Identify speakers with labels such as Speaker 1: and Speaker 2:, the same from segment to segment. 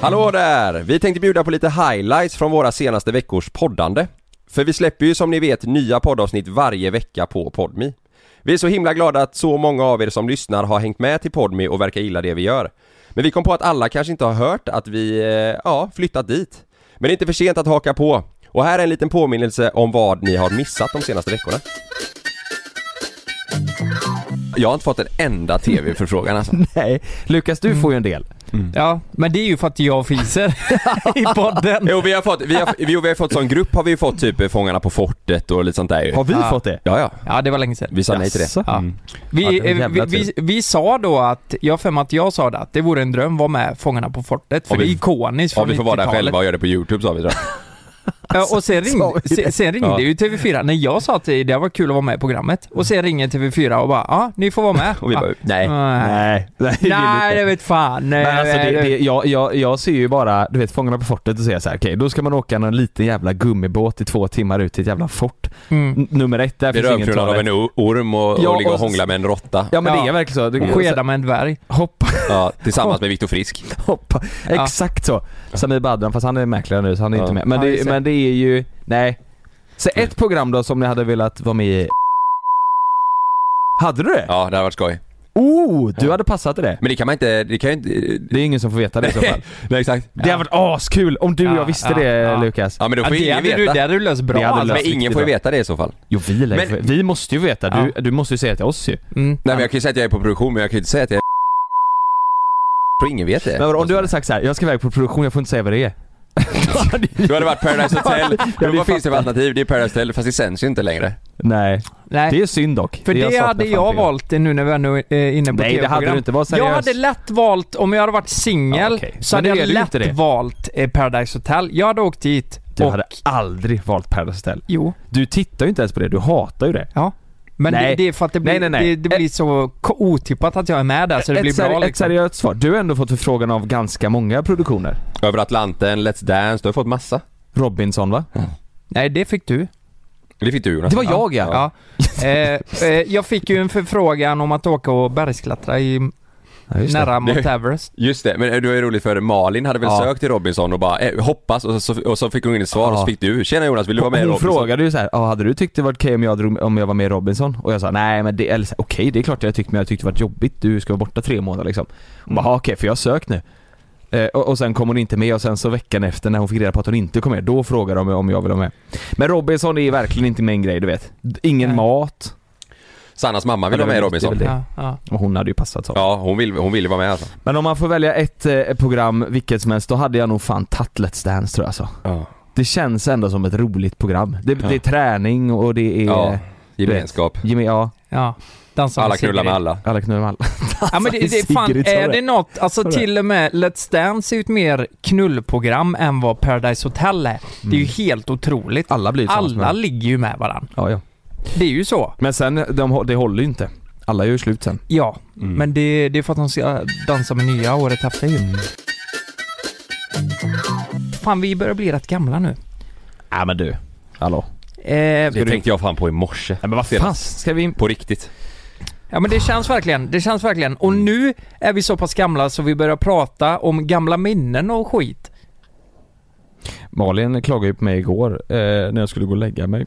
Speaker 1: Hallå där! Vi tänkte bjuda på lite highlights från våra senaste veckors poddande. För vi släpper ju som ni vet nya poddavsnitt varje vecka på Podmi. Vi är så himla glada att så många av er som lyssnar har hängt med till Podmi och verkar gilla det vi gör. Men vi kom på att alla kanske inte har hört att vi, eh, ja, flyttat dit. Men det är inte för sent att haka på. Och här är en liten påminnelse om vad ni har missat de senaste veckorna. Jag har inte fått en enda TV-förfrågan alltså.
Speaker 2: Nej, Lukas du får ju en del.
Speaker 3: Ja, men det är ju för att jag fiser i podden.
Speaker 1: Jo vi har fått, vi har, jo, vi har fått som grupp har vi ju fått typ eh, Fångarna på fortet och lite sånt där ju.
Speaker 2: Har vi
Speaker 3: Ja.
Speaker 2: fått det?
Speaker 1: Ja ja,
Speaker 3: Ja, det var länge sedan.
Speaker 1: vi sa nej till det.
Speaker 2: Jaså?
Speaker 3: Ja.
Speaker 2: Mm. Ja, det
Speaker 3: Vi,
Speaker 2: var en
Speaker 3: eh, vi,
Speaker 2: jävla
Speaker 3: vi, vi sa då att, jag har för mig att jag sa det, att det vore en dröm att vara med Fångarna på fortet, för
Speaker 1: Om vi-
Speaker 3: det är ikoniskt
Speaker 1: Om
Speaker 3: från
Speaker 1: vi får vara där
Speaker 3: 90-talet.
Speaker 1: själva och göra det på youtube sa vi tror
Speaker 3: Ja, och sen, ring,
Speaker 2: sa vi det?
Speaker 3: sen, sen ringde
Speaker 1: Ja.
Speaker 3: ju TV4, när jag sa att det var kul att vara med i programmet, och sen ringer TV4 och bara ja, ni får vara med.
Speaker 1: Och vi bara, nej.
Speaker 3: nej.
Speaker 2: Nej, nej, det vill
Speaker 3: Nej,
Speaker 2: inte.
Speaker 3: det vet fan. Nej,
Speaker 2: Men alltså det,
Speaker 3: nej,
Speaker 2: det, jag, jag, jag ser ju bara, du vet Fångarna på fortet och säger så här, okej då ska man åka någon liten jävla gummibåt i två timmar ut till ett jävla fort.
Speaker 3: Mm.
Speaker 2: N- nummer ett, där
Speaker 1: Bli
Speaker 2: finns ingen
Speaker 1: rövknullad av en
Speaker 2: toalett.
Speaker 1: o- orm och,
Speaker 2: Ja,
Speaker 1: och ligga och
Speaker 2: och-
Speaker 1: hångla med en råtta.
Speaker 2: Ja men det
Speaker 3: Ja.
Speaker 2: är verkligen så. Du,
Speaker 3: Och skeda med en dvärg.
Speaker 2: hoppa,
Speaker 1: Ja, tillsammans med Viktor Frisk.
Speaker 2: hoppa.
Speaker 3: Ja.
Speaker 2: Exakt så. Samir Badran, fast han är mäklare nu så han är
Speaker 1: Ja.
Speaker 2: inte med. Men,
Speaker 3: Ja,
Speaker 2: det,
Speaker 3: just det.
Speaker 2: men det är ju, nej. Så ett program då som ni hade velat vara med i. Hade du det?
Speaker 1: Ja, det hade varit skoj.
Speaker 2: Oh, du hade passat i det.
Speaker 1: Men det kan man inte, det kan ju inte...
Speaker 2: Det är ingen som får veta det i så fall.
Speaker 1: Nej exakt.
Speaker 2: Det hade varit askul om du och jag
Speaker 3: Ja,
Speaker 2: visste
Speaker 3: ja,
Speaker 2: det
Speaker 3: ja.
Speaker 2: Lukas.
Speaker 1: Ja men då
Speaker 3: Ja,
Speaker 1: får ju
Speaker 3: det,
Speaker 1: ingen
Speaker 3: hade du,
Speaker 1: veta.
Speaker 3: det hade du löst bra.
Speaker 2: Det hade
Speaker 3: alltså.
Speaker 2: löst.
Speaker 1: Men ingen får ju veta det i så fall.
Speaker 2: Jo vi Leif,
Speaker 1: Men-
Speaker 2: vi måste ju veta. Du, du måste ju säga till oss ju.
Speaker 3: Mm.
Speaker 1: Nej men jag kan ju säga att jag är på produktion men jag kan ju inte säga att jag är tror ingen vet det.
Speaker 2: Men vadå, om du hade sagt så här, jag ska iväg på produktion, jag får inte säga vad det är. Då hade ju-
Speaker 1: Då hade det varit Paradise Hotel.
Speaker 2: Ja,
Speaker 1: Men vad finns det för
Speaker 2: fattar.
Speaker 1: alternativ? Det är Paradise Hotel fast det sänds ju inte längre.
Speaker 2: Nej,
Speaker 3: Nej.
Speaker 2: det är synd dock.
Speaker 3: För det,
Speaker 2: saknar
Speaker 3: hade
Speaker 2: fan
Speaker 3: jag
Speaker 2: program.
Speaker 3: valt nu när vi är nu, eh, inne på
Speaker 2: Nej det hade
Speaker 3: TV-program.
Speaker 2: du inte, var seriös.
Speaker 3: Jag hade lätt valt, om jag hade varit singel,
Speaker 2: Ja, okej.
Speaker 3: så
Speaker 2: Men det
Speaker 3: hade
Speaker 2: är
Speaker 3: jag
Speaker 2: du ju
Speaker 3: lätt
Speaker 2: inte det.
Speaker 3: valt eh, Paradise Hotel. Jag hade åkt dit
Speaker 2: Du
Speaker 3: och...
Speaker 2: hade aldrig valt Paradise Hotel.
Speaker 3: Jo.
Speaker 2: Du tittar ju inte ens på det, du hatar ju det.
Speaker 3: Ja. Men
Speaker 2: Nej.
Speaker 3: Det, det är för att det blir,
Speaker 2: Nej, nej, nej.
Speaker 3: Det, det blir så ko- otippat att jag är med där så det
Speaker 2: ett,
Speaker 3: blir
Speaker 2: seri-
Speaker 3: bra
Speaker 2: ett
Speaker 3: liksom.
Speaker 2: seriöst svar. Du har ändå fått förfrågan av ganska många produktioner.
Speaker 1: Över Atlanten, Let's Dance, du har fått massa.
Speaker 2: Robinson va?
Speaker 3: Nej, det fick du.
Speaker 1: Det fick du Jonas.
Speaker 2: Det var jag ja.
Speaker 3: Ja. eh, eh, jag fick ju en förfrågan om att åka och bergsklättra i,
Speaker 2: Ja, just det.
Speaker 3: nära Mount
Speaker 1: Det-
Speaker 3: Everest.
Speaker 1: Just det, men det var ju roligt för Malin hade väl
Speaker 2: Ja.
Speaker 1: sökt till Robinson och bara eh, hoppas och så, och så fick hon inget svar och
Speaker 2: Ja.
Speaker 1: så fick du Tjena Jonas, vill du vara med i
Speaker 2: Hon
Speaker 1: Robinson?
Speaker 2: frågade ju såhär, ah, hade du tyckt det varit okej om, jag drog, om jag var med i Robinson? Och jag sa nej men det, eller så här, okej det är klart jag tyckte men jag tyckte det var jobbigt, du ska vara borta tre månader liksom. Hon
Speaker 1: Mm.
Speaker 2: bara, "Ah, okej för jag har sökt nu. Eh, och, och sen kom hon inte med och sen så veckan efter när hon fick reda på att hon inte kom med, då frågade de om jag ville vara med. Men Robinson är verkligen inte min grej du vet. D- Ingen
Speaker 3: Nej.
Speaker 2: mat,
Speaker 1: Sannas mamma vill
Speaker 2: Ja,
Speaker 1: vara med i
Speaker 2: det är väl
Speaker 1: Robinson.
Speaker 2: det.
Speaker 3: Ja, ja.
Speaker 2: och hon hade ju passat så.
Speaker 1: Ja, hon vill, hon vill vara med alltså.
Speaker 2: Men om man får välja ett eh, program, vilket som helst, då hade jag nog fan tagit Let's Dance tror jag alltså.
Speaker 1: Ja.
Speaker 2: Det känns ändå som ett roligt program. Det, det är träning och det är...
Speaker 1: Ja.
Speaker 2: Ja.
Speaker 1: Gemenskap.
Speaker 2: ja,
Speaker 3: ja. Dansa
Speaker 1: Alla
Speaker 3: med Sigrid.
Speaker 1: knullar med alla.
Speaker 2: alla knullar med alla.
Speaker 3: Ja men det, det är fan,
Speaker 2: Alltså, Sigrid sa
Speaker 3: är
Speaker 2: det.
Speaker 3: det något, alltså
Speaker 2: Sa det.
Speaker 3: till och med Let's Dance är ju ett mer knullprogram än vad Paradise Hotel är. Det är
Speaker 2: Mm.
Speaker 3: ju helt otroligt.
Speaker 2: Alla blir ju tillsammans
Speaker 3: Alla
Speaker 2: med
Speaker 3: ligger ju med varandra.
Speaker 2: ja, ja.
Speaker 3: Det är ju så.
Speaker 2: Men sen, de, det håller ju inte. Alla gör ju slut sen.
Speaker 3: Ja,
Speaker 2: Mm.
Speaker 3: men det, det är för att de ska dansa med nya året efter ju.
Speaker 2: Mm.
Speaker 3: Fan, vi börjar bli rätt gamla nu.
Speaker 2: Nej men du. Hallå.
Speaker 3: Eh,
Speaker 1: Det tänkte jag fan på i morse.
Speaker 2: Nej men vad fan ska vi...
Speaker 1: På riktigt.
Speaker 3: ja men det känns verkligen, det känns verkligen. Och nu är vi så pass gamla så vi börjar prata om gamla minnen och skit.
Speaker 2: Malin klagade ju på mig igår eh, när jag skulle gå och lägga mig.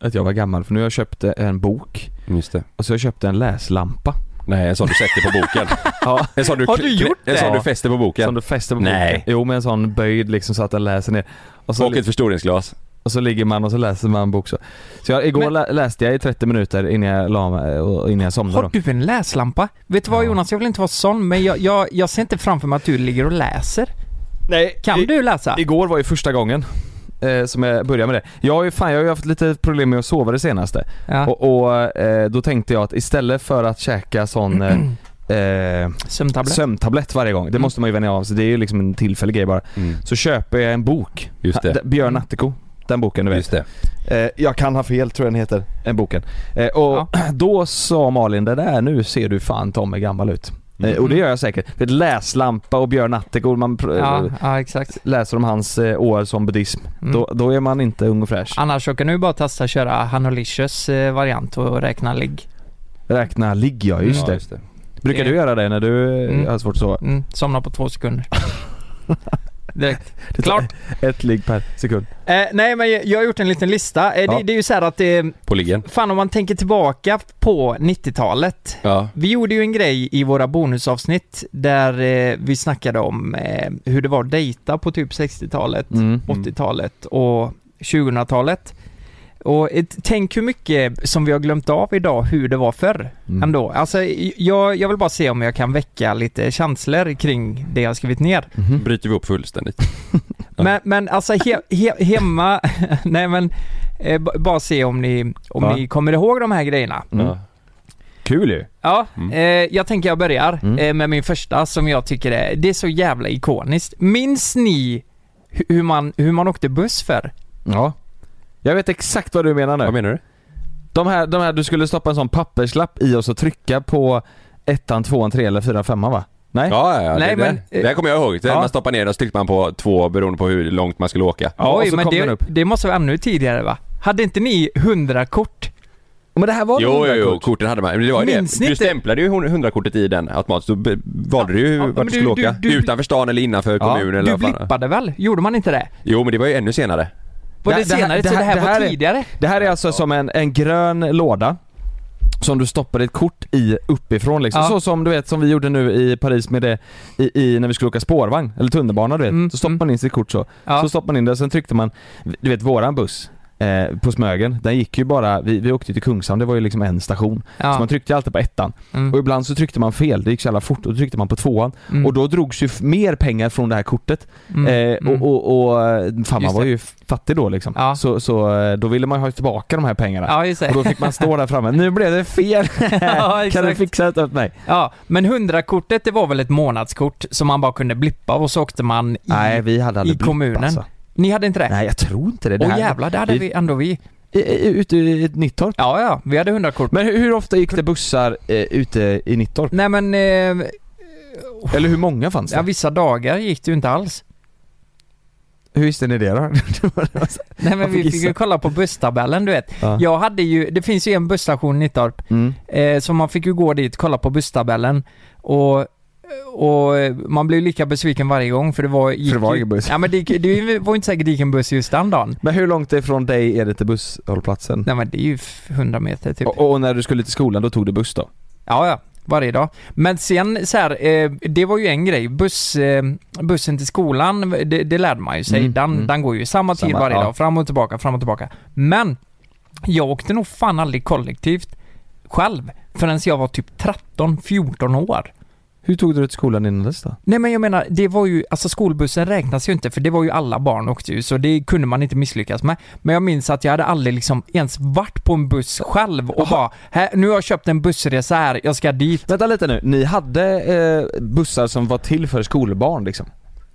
Speaker 2: Att jag var gammal för nu har jag köpt en bok
Speaker 1: Just det.
Speaker 2: och så har jag köpt en läslampa.
Speaker 1: Nej, en sån du sätter på boken.
Speaker 2: Ja.
Speaker 1: En sån du,
Speaker 3: Har du gjort
Speaker 1: En sån
Speaker 2: det?
Speaker 1: du fäster på boken.
Speaker 2: Som du fäster på
Speaker 1: Nej.
Speaker 2: boken. Jo med en sån böjd liksom så att den läser ner. Och så,
Speaker 1: Och ett förstoringsglas.
Speaker 2: och så ligger man och så läser man en bok så. Så jag, igår
Speaker 3: Men-
Speaker 2: lä- läste jag i 30 minuter innan jag la mig och innan jag somnade
Speaker 3: Har
Speaker 2: då.
Speaker 3: du en läslampa? Vet du vad Jonas, jag vill inte vara sån, men jag, jag, jag ser inte framför mig att du ligger och läser.
Speaker 2: Nej,
Speaker 3: Kan du läsa?
Speaker 2: Igår var ju första gången eh, som jag börjar med det. Jag har ju fan, jag har ju haft lite problem med att sova det senaste.
Speaker 3: Ja.
Speaker 2: Och, och eh, då tänkte jag att istället för att käka sån eh, eh,
Speaker 3: Sömntablett.
Speaker 2: sömntablett varje gång, det
Speaker 3: Mm.
Speaker 2: måste man ju vänja av sig, det är ju liksom en tillfällig grej bara.
Speaker 1: Mm.
Speaker 2: Så köper jag en bok.
Speaker 1: Just det.
Speaker 2: Ha- Björn Attiko. Den boken du vet.
Speaker 1: Just det.
Speaker 2: Eh, jag kan ha fel tror jag den heter, den boken. Eh, och
Speaker 3: Ja.
Speaker 2: då sa Malin det där nu ser du fan ta mig gammal ut. Eh, och det gör jag säkert. Det är läslampa och Björn Attego, man pr-
Speaker 3: Ja,
Speaker 2: eh,
Speaker 3: ja, exakt.
Speaker 2: läser om hans eh, år som buddhism.
Speaker 3: Mm.
Speaker 2: Då, då är man inte ung och fräsch.
Speaker 3: Annars så kan du ju bara testa att köra Hanolicious eh, variant och räkna ligg.
Speaker 2: Räkna ligg ja, just
Speaker 1: Ja,
Speaker 2: det.
Speaker 1: just det.
Speaker 2: Brukar
Speaker 3: Det-
Speaker 2: du göra det när du eh,
Speaker 3: Mm.
Speaker 2: har svårt att sova?
Speaker 3: Mm, somna på två sekunder. Direkt.
Speaker 2: Det tar
Speaker 3: Klart.
Speaker 2: Ett ligg per sekund.
Speaker 3: Eh, nej men jag- jag har gjort en liten lista. Eh,
Speaker 2: Ja.
Speaker 3: det, det är ju så här att det,
Speaker 1: På liggen.
Speaker 3: fan om man tänker tillbaka på 90-talet.
Speaker 1: Ja.
Speaker 3: Vi gjorde ju en grej i våra bonusavsnitt där eh, vi snackade om eh, hur det var att dejta på typ 60-talet,
Speaker 2: Mm.
Speaker 3: 80-talet och 2000-talet. Och ett, tänk hur mycket som vi har glömt av idag hur det var förr
Speaker 2: Mm.
Speaker 3: ändå. Alltså j- jag, jag vill bara se om jag kan väcka lite känslor kring det jag har skrivit ner.
Speaker 2: Mhm.
Speaker 1: Bryter vi upp fullständigt. Ja.
Speaker 3: Men, men alltså he, he, hemma, nej men eh, b- bara se om ni, om
Speaker 2: Ja.
Speaker 3: ni kommer ihåg de här grejerna.
Speaker 2: Mm. Kul ju!
Speaker 3: Ja,
Speaker 1: Mm.
Speaker 3: eh, jag tänker jag börjar
Speaker 2: Mm.
Speaker 3: eh, med min första som jag tycker är, det är så jävla ikoniskt. Minns ni hu- hur man, hur man åkte buss för?
Speaker 2: Ja. Jag vet exakt vad du menar nu.
Speaker 1: Vad menar du?
Speaker 2: De här, de här, du skulle stoppa en sån papperslapp i och så trycka på ettan, tvåan, trean eller fyran, femman va? Nej?
Speaker 1: Ja, ja, ja.
Speaker 3: Nej,
Speaker 1: det,
Speaker 3: men-
Speaker 1: där. det här kommer jag ihåg. Det
Speaker 2: Ja.
Speaker 1: Man stoppar ner den och så tryckte man på två beroende på hur långt man skulle åka.
Speaker 2: Ja, och så kom
Speaker 3: det,
Speaker 2: den upp.
Speaker 3: det måste vara ännu tidigare va? Hade inte ni 100 kort?
Speaker 2: Men det här var
Speaker 1: Jo, jo,
Speaker 2: väl
Speaker 1: jo,
Speaker 2: kort?
Speaker 1: korten hade man. Men Det var ju
Speaker 3: Minns
Speaker 1: det.
Speaker 3: ni
Speaker 1: Du
Speaker 3: inte?
Speaker 1: stämplade ju hund- hundrakortet i den automatiskt. Då be- valde du ju
Speaker 3: Ja, men
Speaker 1: vart du
Speaker 3: du-
Speaker 1: skulle
Speaker 3: du-
Speaker 1: åka.
Speaker 3: du-
Speaker 1: Utanför stan eller innanför
Speaker 2: Ja,
Speaker 1: kommunen eller
Speaker 3: Du
Speaker 1: vad fan.
Speaker 3: blippade väl? Gjorde man inte det?
Speaker 1: Jo, men det var ju ännu senare.
Speaker 3: Var det,
Speaker 2: Det- det här-
Speaker 3: senare?
Speaker 2: det
Speaker 3: så
Speaker 2: här-
Speaker 3: det här,
Speaker 2: det här
Speaker 3: var
Speaker 2: är-
Speaker 3: tidigare?
Speaker 2: Det här är alltså som en, en grön låda som du stoppar ett kort i uppifrån liksom.
Speaker 3: Ja.
Speaker 2: Så som du vet som vi gjorde nu i Paris med det i, i när vi skulle åka spårvagn eller tunnelbana du vet.
Speaker 3: Mm,
Speaker 2: Så stoppar man in sitt kort så.
Speaker 3: Ja.
Speaker 2: Så stoppar man in det sen tryckte man, du vet våran buss eh, på Smögen, den gick ju bara, vi, vi åkte ju till Kungshamn, det var ju liksom en station. Så
Speaker 3: Ja.
Speaker 2: man tryckte ju alltid på ettan.
Speaker 3: Mm.
Speaker 2: Och ibland så tryckte man fel, det gick så jävla fort och då tryckte man på tvåan.
Speaker 3: Mm.
Speaker 2: Och då drogs ju f- mer pengar från det här kortet.
Speaker 3: Mm.
Speaker 2: Eh, och, och, och eh, fan
Speaker 3: Just
Speaker 2: man var
Speaker 3: det.
Speaker 2: ju f- fattig då liksom.
Speaker 3: Ja.
Speaker 2: Så, så eh, då ville man ju ha tillbaka de här pengarna.
Speaker 3: Ja, just det.
Speaker 2: Och då fick man stå där framme, nu blev det fel!
Speaker 3: Ja,
Speaker 2: kan du
Speaker 3: exakt.
Speaker 2: fixa det åt mig?
Speaker 3: Ja, men 100-kortet det var väl ett månadskort som man bara kunde blippa och så åkte man i...
Speaker 2: Nej vi hade aldrig
Speaker 3: i
Speaker 2: blipp,
Speaker 3: kommunen. Ni hade inte det?
Speaker 2: Nej jag tror inte det. det
Speaker 3: Åh
Speaker 2: här-
Speaker 3: jävlar, det hade
Speaker 2: i-
Speaker 3: vi ändå vi.
Speaker 2: i- i- Ute i ett Nittorp.
Speaker 3: Ja, ja, vi hade 100-kort.
Speaker 2: Men hur, hur ofta gick det bussar eh, ute i Nittorp?
Speaker 3: Nej men, eh,
Speaker 2: Eller hur många fanns det?
Speaker 3: Oh. ja, vissa dagar gick det ju inte alls.
Speaker 2: Hur visste ni det då?
Speaker 3: Nej men
Speaker 2: Man
Speaker 3: vi
Speaker 2: fick
Speaker 3: fick ju
Speaker 2: gissa.
Speaker 3: kolla på busstabellen du vet.
Speaker 2: Ja.
Speaker 3: Jag hade ju, det finns ju en busstation i Nittorp,
Speaker 2: Mm.
Speaker 3: eh, så man fick ju gå dit, kolla på busstabellen och och eh, man blev lika besviken varje gång för det var... Gick
Speaker 2: det var
Speaker 3: ju-
Speaker 2: ingen buss.
Speaker 3: Ja men det, gick- det var ju inte säkert det gick en buss just den dagen.
Speaker 2: Men hur långt ifrån dig är det till busshållplatsen?
Speaker 3: Nej men det är ju f- 100 meter typ.
Speaker 2: Och, och när du skulle till skolan, då tog du buss då?
Speaker 3: Ja, ja. Varje dag. Men sen så här, eh, det var ju en grej. Buss, eh, bussen till skolan, det, det lärde man ju sig.
Speaker 2: Mm,
Speaker 3: den,
Speaker 2: mm.
Speaker 3: den går ju samma tid
Speaker 2: Samma,
Speaker 3: varje
Speaker 2: ja.
Speaker 3: dag, fram och tillbaka, fram och tillbaka. Men jag åkte nog fan aldrig kollektivt själv förrän jag var typ 13-14 år.
Speaker 2: Hur tog du dig till skolan innan dess då?
Speaker 3: Nej men jag menar, det var ju, alltså skolbussen räknas ju inte för det var ju alla barn åkte ju så det kunde man inte misslyckas med. Men jag minns att jag hade aldrig liksom ens varit på en buss själv och bara, här, nu har jag köpt en bussresa här, jag ska dit.
Speaker 2: Vänta lite nu, ni hade eh, bussar som var till för skolbarn liksom?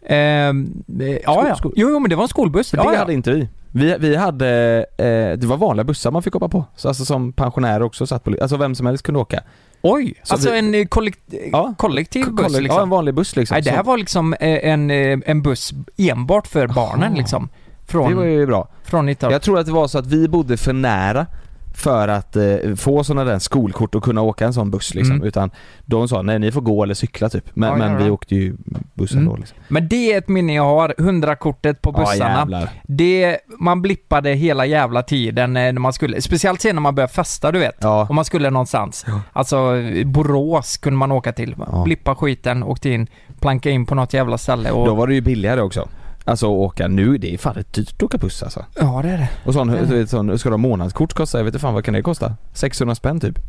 Speaker 3: Ehm, eh, ja, ja.
Speaker 2: skol-
Speaker 3: Jo, jo, men det var en skolbuss.
Speaker 2: För
Speaker 3: Ja,
Speaker 2: det
Speaker 3: ja.
Speaker 2: hade inte vi. Vi, vi hade, eh, det var vanliga bussar man fick hoppa på. Så, alltså som pensionärer också satt på, alltså vem som helst kunde åka.
Speaker 3: Oj,
Speaker 2: Så
Speaker 3: alltså
Speaker 2: vi-
Speaker 3: en eh, kollekt- eh,
Speaker 2: Ja.
Speaker 3: kollektiv
Speaker 2: K-
Speaker 3: buss
Speaker 2: kollek-
Speaker 3: liksom.
Speaker 2: Ja en vanlig buss liksom.
Speaker 3: Nej, det här
Speaker 2: Så-
Speaker 3: var liksom eh, en, eh, en buss enbart för barnen liksom.
Speaker 2: det var
Speaker 3: Från,
Speaker 2: ju bra.
Speaker 3: från Italien.
Speaker 2: Jag tror att det var så att vi bodde för nära för att eh, få sådana där skolkort och kunna åka en sån buss liksom.
Speaker 3: Mm.
Speaker 2: Utan de sa nej ni får gå eller cykla typ. Men,
Speaker 3: Ja,
Speaker 2: men
Speaker 3: ja,
Speaker 2: vi
Speaker 3: ja.
Speaker 2: åkte ju bussen
Speaker 3: Mm.
Speaker 2: då liksom.
Speaker 3: Men det är ett minne jag har, 100-kortet på bussarna.
Speaker 2: jävlar.
Speaker 3: det, man blippade hela jävla tiden eh, när man skulle, speciellt sen när man började festa du vet.
Speaker 2: Ja.
Speaker 3: Om man skulle någonstans. Alltså eh, Borås kunde man åka till.
Speaker 2: Ja.
Speaker 3: Blippa skiten, åkte in, planka in på något jävla ställe och...
Speaker 2: Då var det ju billigare också. Alltså att åka nu, det är fan rätt dyrt att åka buss alltså.
Speaker 3: Ja det är det.
Speaker 2: Och sån,
Speaker 3: Mm.
Speaker 2: du vet, sån ska du ha månadskort kosta? Jag vet inte fan vad kan det kosta? 600 spänn typ?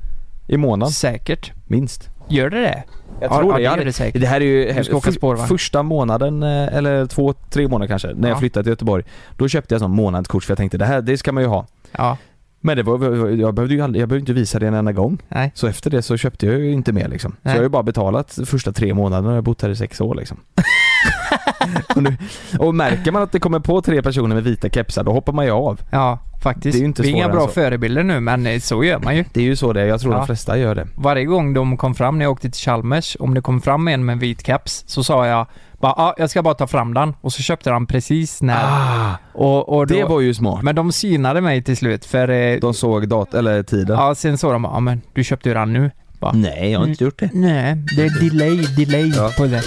Speaker 2: I månaden?
Speaker 3: Säkert.
Speaker 2: Minst.
Speaker 3: Gör det det?
Speaker 2: Jag
Speaker 3: Ja,
Speaker 2: tror
Speaker 3: ja,
Speaker 2: det.
Speaker 3: det
Speaker 2: Jag
Speaker 3: gör
Speaker 2: hade-
Speaker 3: det säkert.
Speaker 2: det här är ju
Speaker 3: Du ska åka
Speaker 2: för-
Speaker 3: spårvagn.
Speaker 2: första månaden, eh, eller två, tre månader kanske, när jag
Speaker 3: Ja.
Speaker 2: flyttade till Göteborg. Då köpte jag sån månadskort för jag tänkte det här, det ska man ju ha.
Speaker 3: Ja.
Speaker 2: Men det var, jag behövde ju aldrig, jag behövde inte visa det en enda gång.
Speaker 3: Nej.
Speaker 2: Så efter det så köpte jag ju inte mer liksom. Så
Speaker 3: Nej.
Speaker 2: jag har ju bara betalat de första tre månaderna och jag har bott här i sex år liksom. och, nu, och märker man att det kommer på tre personer med vita kepsar, då hoppar man ju av.
Speaker 3: Ja, faktiskt.
Speaker 2: Det är ju inte
Speaker 3: Vi är inga
Speaker 2: svårare
Speaker 3: bra
Speaker 2: än så.
Speaker 3: förebilder nu, men eh, så gör man ju.
Speaker 2: Det är ju så det är, jag tror
Speaker 3: Ja.
Speaker 2: de flesta gör det.
Speaker 3: Varje gång de kom fram när jag åkte till Chalmers, om det kom fram en med en vit keps, så sa jag bara ah, jag ska bara ta fram den. Och så köpte han precis när.
Speaker 2: Ah,
Speaker 3: och, och då,
Speaker 2: det var ju smart.
Speaker 3: Men de synade mig till slut för... Eh,
Speaker 2: De såg dat- eller tiden.
Speaker 3: ja, sen såg de ja ah, men du köpte ju den nu. Bara,
Speaker 2: Nej, jag har inte gjort det.
Speaker 3: Nej, det är delay, delay på det.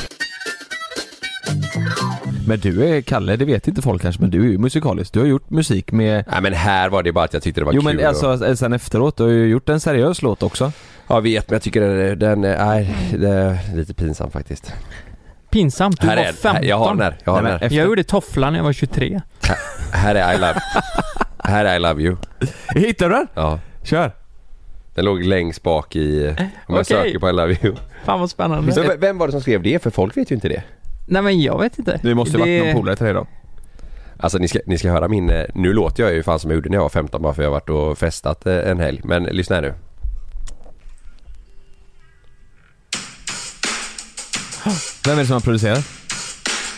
Speaker 2: Men du är, Kalle, det vet inte folk kanske, men du är ju musikalisk. Du har gjort musik med...
Speaker 1: Nej men här var det bara att jag tyckte det var
Speaker 2: Jo
Speaker 1: kul
Speaker 2: men
Speaker 1: och-
Speaker 2: alltså sen efteråt, du har ju gjort en seriös låt också.
Speaker 1: Jag vet men jag tycker den, den är, det är lite pinsam faktiskt.
Speaker 3: Pinsamt, du
Speaker 1: här
Speaker 3: var
Speaker 1: är
Speaker 3: 15.
Speaker 1: Jag har den här. Jag, har den här.
Speaker 2: efter-
Speaker 3: Jag gjorde tofflan när jag var 23.
Speaker 1: här är I love. här är I love you.
Speaker 2: Hittar du den?
Speaker 1: Ja.
Speaker 2: Kör!
Speaker 1: Den låg längst bak i, om jag
Speaker 3: Okej.
Speaker 1: söker på I love you.
Speaker 3: Fan vad spännande.
Speaker 1: Men v- vem var det som skrev det? För folk vet ju inte det.
Speaker 3: Nej men jag vet inte.
Speaker 2: Det måste ju varit
Speaker 3: Det-
Speaker 2: någon polare till dig då.
Speaker 1: Alltså ni ska, ni ska höra min, eh, nu låter jag ju fan som jag gjorde när jag var 15 bara för jag har varit och festat eh, en helg. Men lyssna här nu.
Speaker 2: Vem är det som har producerat?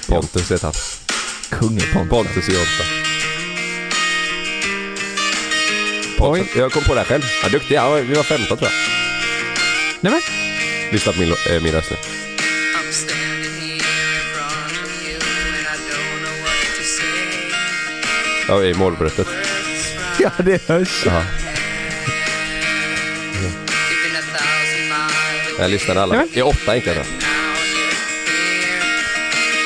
Speaker 1: Pontus heter han.
Speaker 2: Kungen Pontus.
Speaker 1: Pontus i Jonsta. Pontus. Jag kom på det här själv. Ja, duktig. Ja, vi var 15 tror jag.
Speaker 3: Nej men,
Speaker 1: Lyssna på min, lo- eh, min röst nu.
Speaker 4: I'm standing here in front of you and I don't know what to say.
Speaker 1: Jag är i målbrottet.
Speaker 2: Ja, det hörs.
Speaker 1: Jaha.
Speaker 4: You've been a thousand miles away.
Speaker 1: Jag lyssnade alla.
Speaker 3: Nämen.
Speaker 1: Det är åtta inte jag tror.
Speaker 4: Now you're here.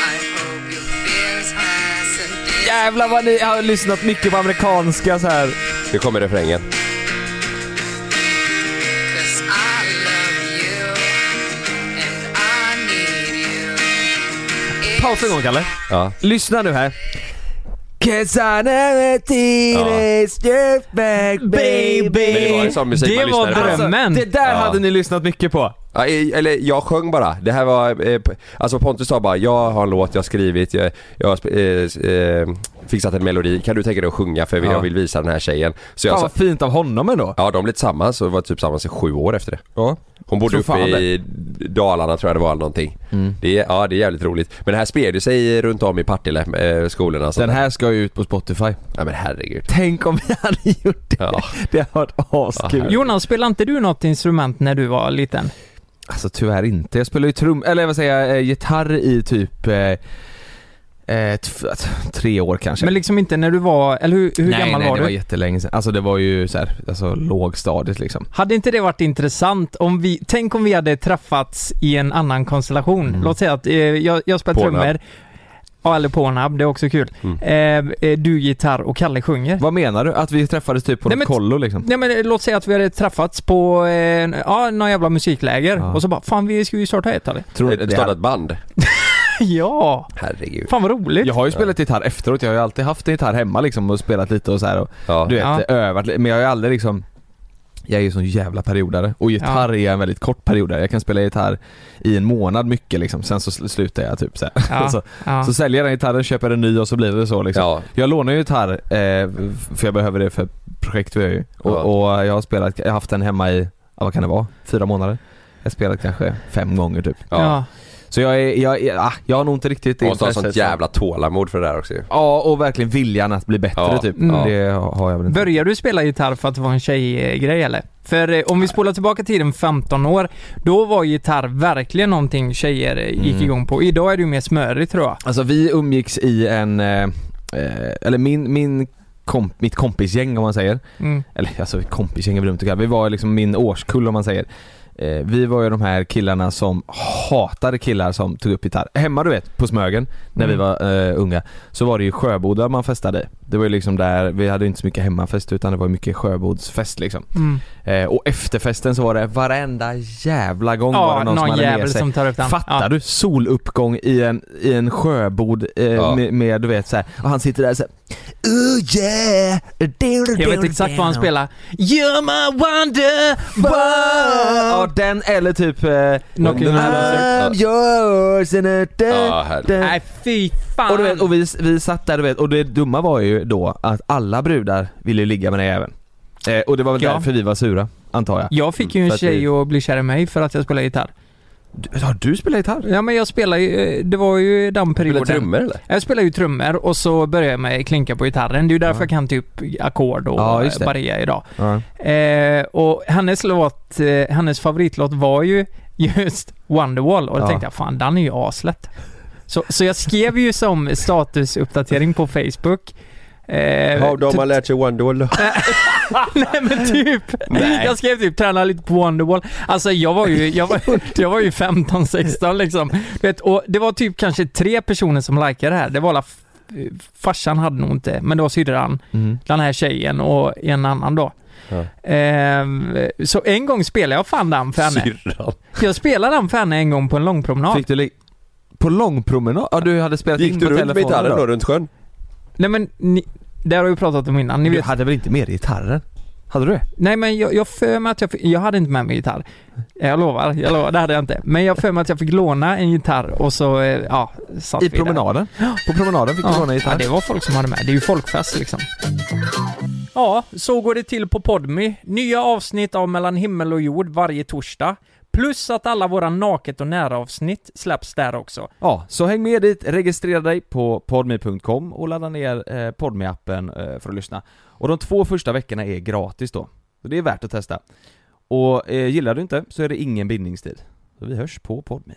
Speaker 4: I hope you feel as high as a day.
Speaker 2: Jävlar vad ni har lyssnat mycket på amerikanska så här.
Speaker 1: Nu kommer refrängen.
Speaker 4: 'Cause I love you and I need you.
Speaker 2: Paus en gång Kalle.
Speaker 1: Ja.
Speaker 2: Lyssna nu här. Cause I never teenage ja. back
Speaker 1: Men det var en
Speaker 2: baby.
Speaker 1: sån musik
Speaker 3: Det
Speaker 1: man
Speaker 3: var
Speaker 1: lyssnade på.
Speaker 3: dröm. Drömmen.
Speaker 2: Alltså, det där
Speaker 1: Ja.
Speaker 2: hade ni lyssnat mycket på.
Speaker 1: Ja, eh, eller jag sjöng bara. Det här var, eh, p- alltså Pontus sa bara jag har en låt, jag har skrivit, jag, jag har sp- eh, s- eh, fixat en melodi. Kan du tänka dig att sjunga för
Speaker 2: Ja.
Speaker 1: jag vill visa den här tjejen. Så jag
Speaker 2: Fan
Speaker 1: sa,
Speaker 2: vad fint av honom ändå.
Speaker 1: ja de blev tillsammans och var typ tillsammans i sju år efter det.
Speaker 2: Ja.
Speaker 1: Hon bodde
Speaker 2: Som
Speaker 1: uppe
Speaker 2: fan
Speaker 1: i Dalarna tror jag det var eller någonting.
Speaker 2: Mm.
Speaker 1: Det, är- ja det är jävligt roligt. Men det här spred ju sig runt om i Partille, eh, skolorna. Så.
Speaker 2: Den här ska ju ut på Spotify.
Speaker 1: Ja men herregud.
Speaker 2: Tänk om vi hade gjort det.
Speaker 1: Ja.
Speaker 2: Det hade varit askul.
Speaker 3: Jonas, spelade inte du något instrument när du var liten?
Speaker 2: Alltså tyvärr inte. Jag spelade ju trum, eller vad säger jag, eh, gitarr i typ eh, eh, tf- alltså, tre år kanske.
Speaker 3: Men liksom inte när du var, eller hur, hur
Speaker 2: nej,
Speaker 3: gammal
Speaker 2: nej,
Speaker 3: var
Speaker 2: det
Speaker 3: du?
Speaker 2: var jättelänge sedan. Alltså det var ju så här, alltså lågstadiet liksom.
Speaker 3: Hade inte det varit intressant om vi, tänk om vi hade träffats i en annan konstellation?
Speaker 2: Mm.
Speaker 3: Låt säga att eh, jag, jag spelar
Speaker 1: Pornhub.
Speaker 3: trummor, ja eller Pornhub, det är också kul.
Speaker 2: Mm.
Speaker 3: Eh, eh, du gitarr och Kalle sjunger.
Speaker 2: Vad menar du? Att vi träffades typ på
Speaker 3: Nej,
Speaker 2: något
Speaker 3: men-
Speaker 2: kollo liksom?
Speaker 3: Nej men eh, låt säga att vi hade träffats på, eh, ja, någon jävla musikläger
Speaker 2: Ja.
Speaker 3: och så bara fan vi ska ju starta ett eller?
Speaker 2: Tror du,
Speaker 1: Eh, Ett
Speaker 2: det
Speaker 1: startat
Speaker 2: här,
Speaker 1: band.
Speaker 3: Ja!
Speaker 1: Herregud.
Speaker 3: Fan vad roligt!
Speaker 2: jag har ju spelat gitarr efteråt, jag har ju alltid haft en gitarr hemma liksom och spelat lite och så här och
Speaker 1: Ja.
Speaker 2: du vet,
Speaker 3: Ja.
Speaker 2: övat lite. Men jag har ju aldrig liksom jag är ju sån jävla periodare och gitarr är en väldigt kort periodare. Jag kan spela gitarr i en månad mycket liksom, sen så sl- slutar jag typ så, här.
Speaker 3: Ja,
Speaker 2: så
Speaker 3: ja.
Speaker 2: Så säljer jag den gitarren, köper en ny och så blir det så liksom.
Speaker 1: Ja.
Speaker 2: Jag lånar ju gitarr, eh, för jag behöver det för projekt vi har ju. Och,
Speaker 1: Ja.
Speaker 2: och jag har spelat, jag har haft den hemma i, ja, vad kan det vara, fyra månader? Jag har spelat kanske fem gånger typ.
Speaker 1: Ja.
Speaker 3: ja.
Speaker 2: Så jag är, jag, är, ah, jag har nog inte riktigt det
Speaker 1: Måste ha sånt
Speaker 2: intresset, så-
Speaker 1: jävla tålamod för det där också ju.
Speaker 2: Ja, och verkligen viljan att bli bättre
Speaker 1: Ja.
Speaker 2: typ.
Speaker 1: Mm.
Speaker 2: Det har jag väl inte.
Speaker 3: Började du spela gitarr för att det var en tjejgrej eller? För eh, om vi spolar tillbaka tiden 15 år, då var gitarr verkligen någonting tjejer eh, gick
Speaker 2: Mm.
Speaker 3: igång på. Idag är det ju mer smörigt tror jag.
Speaker 2: Alltså vi umgicks i en, eh, eh, eller min, min komp, mitt kompisgäng om man säger.
Speaker 3: Mm.
Speaker 2: Eller alltså kompisgäng är väl dumt att kalla Vi var liksom min årskull om man säger. Eh, vi var ju de här killarna som hatade killar som tog upp gitarr. Hemma du vet, på Smögen, när vi
Speaker 3: Mm.
Speaker 2: var eh, unga, så var det ju Sjöboda man festade i. Det var ju liksom där, vi hade inte så mycket hemmafest utan det var mycket Sjöbodsfest liksom.
Speaker 3: Mm.
Speaker 2: Eh, och efterfesten så var det varenda jävla gång var
Speaker 3: Ja,
Speaker 2: det någon, som
Speaker 3: någon
Speaker 2: hade med
Speaker 3: jävel
Speaker 2: sig.
Speaker 3: som tar upp den.
Speaker 2: Fattar
Speaker 3: ja.
Speaker 2: du? Soluppgång i en, i en sjöbod eh,
Speaker 1: Ja.
Speaker 2: med, med, du vet såhär, och han sitter där såhär Oh yeah!
Speaker 3: Jag vet exakt vad han
Speaker 2: Eh.
Speaker 3: spelar. You're my wonder
Speaker 2: Ja,
Speaker 3: world.
Speaker 2: den eller typ... Eh,
Speaker 3: Knocking
Speaker 1: Den
Speaker 3: on
Speaker 1: här-
Speaker 3: the door.
Speaker 2: I'm yours and a
Speaker 1: Ja,
Speaker 2: da,
Speaker 1: herregud.
Speaker 2: da.
Speaker 3: Nej fy fan.
Speaker 2: Och, du vet, och vi, vi satt där du vet, och det dumma var ju då att alla brudar ville ju ligga med den även. Eh, och det var väl
Speaker 3: Ja.
Speaker 2: därför vi var sura, antar jag.
Speaker 3: jag fick ju
Speaker 2: För
Speaker 3: en
Speaker 2: att
Speaker 3: tjej
Speaker 2: vi-
Speaker 3: att bli kär i mig för att jag spelade gitarr.
Speaker 2: Du, har du spelat gitarr?
Speaker 3: Ja men jag spelade ju, eh, det var ju
Speaker 1: Spelar
Speaker 3: den perioden.
Speaker 1: trummor eller?
Speaker 3: Jag spelar ju trummor och så börjar jag med klinka på gitarren. Det är ju därför jag kan typ ackord och
Speaker 2: Ja, just det.
Speaker 3: barré idag.
Speaker 2: Ja.
Speaker 3: Eh, och hennes låt, eh, hennes favoritlåt var ju just Wonderwall och då
Speaker 2: Ja.
Speaker 3: tänkte jag fan den är ju aslätt. Så, så jag skrev ju som statusuppdatering på Facebook. Eh,
Speaker 1: How de
Speaker 3: typ-
Speaker 1: har lärt sig Wonderwall då?
Speaker 3: Nej men typ.
Speaker 1: Nej.
Speaker 3: Jag skrev typ träna lite på Wonderwall. Alltså jag var ju, jag var, jag var ju 15-16 liksom. Du Vet, och det var typ kanske tre personer som likade det här. Det var alla f- farsan hade nog inte, men det var syrran,
Speaker 2: Mm.
Speaker 3: den här tjejen och en annan då.
Speaker 1: Ja.
Speaker 3: Ehm, så en gång spelade jag fan den för henne.
Speaker 1: Syrran.
Speaker 3: Jag spelade den för henne en gång på en lång promenad.
Speaker 2: Fick du li- På långpromenad? Ja du hade spelat in
Speaker 1: Gick
Speaker 2: på
Speaker 1: du runt med
Speaker 2: telefonen
Speaker 1: gitarren då runt sjön?
Speaker 3: Nej men, ni, det har vi pratat om innan. Ni
Speaker 2: Du
Speaker 3: vet.
Speaker 2: hade väl inte med dig gitarren? Hade du det?
Speaker 3: Nej men jag, jag för mig att jag fick, jag hade inte med mig gitarr. Jag lovar, jag lovar, det hade jag inte. Men jag för mig att jag fick låna en gitarr och så, eh, ja, satt
Speaker 2: I
Speaker 3: vi där.
Speaker 2: promenaden? På promenaden fick du
Speaker 3: Ja.
Speaker 2: låna
Speaker 3: ja,
Speaker 2: gitarr?
Speaker 3: det var folk som hade med. Det är ju folkfest liksom. Ja, så går det till på Podmy. Nya avsnitt av Mellan himmel och jord varje torsdag. Plus att alla våra naket och nära avsnitt släpps där också.
Speaker 2: Ja, så häng med dit, registrera dig på podme.com och ladda ner eh, podme appen eh, för att lyssna. Och de två första veckorna är gratis då, så det är värt att testa. Och eh, gillar du inte så är det ingen bindningstid. Så vi hörs på podme.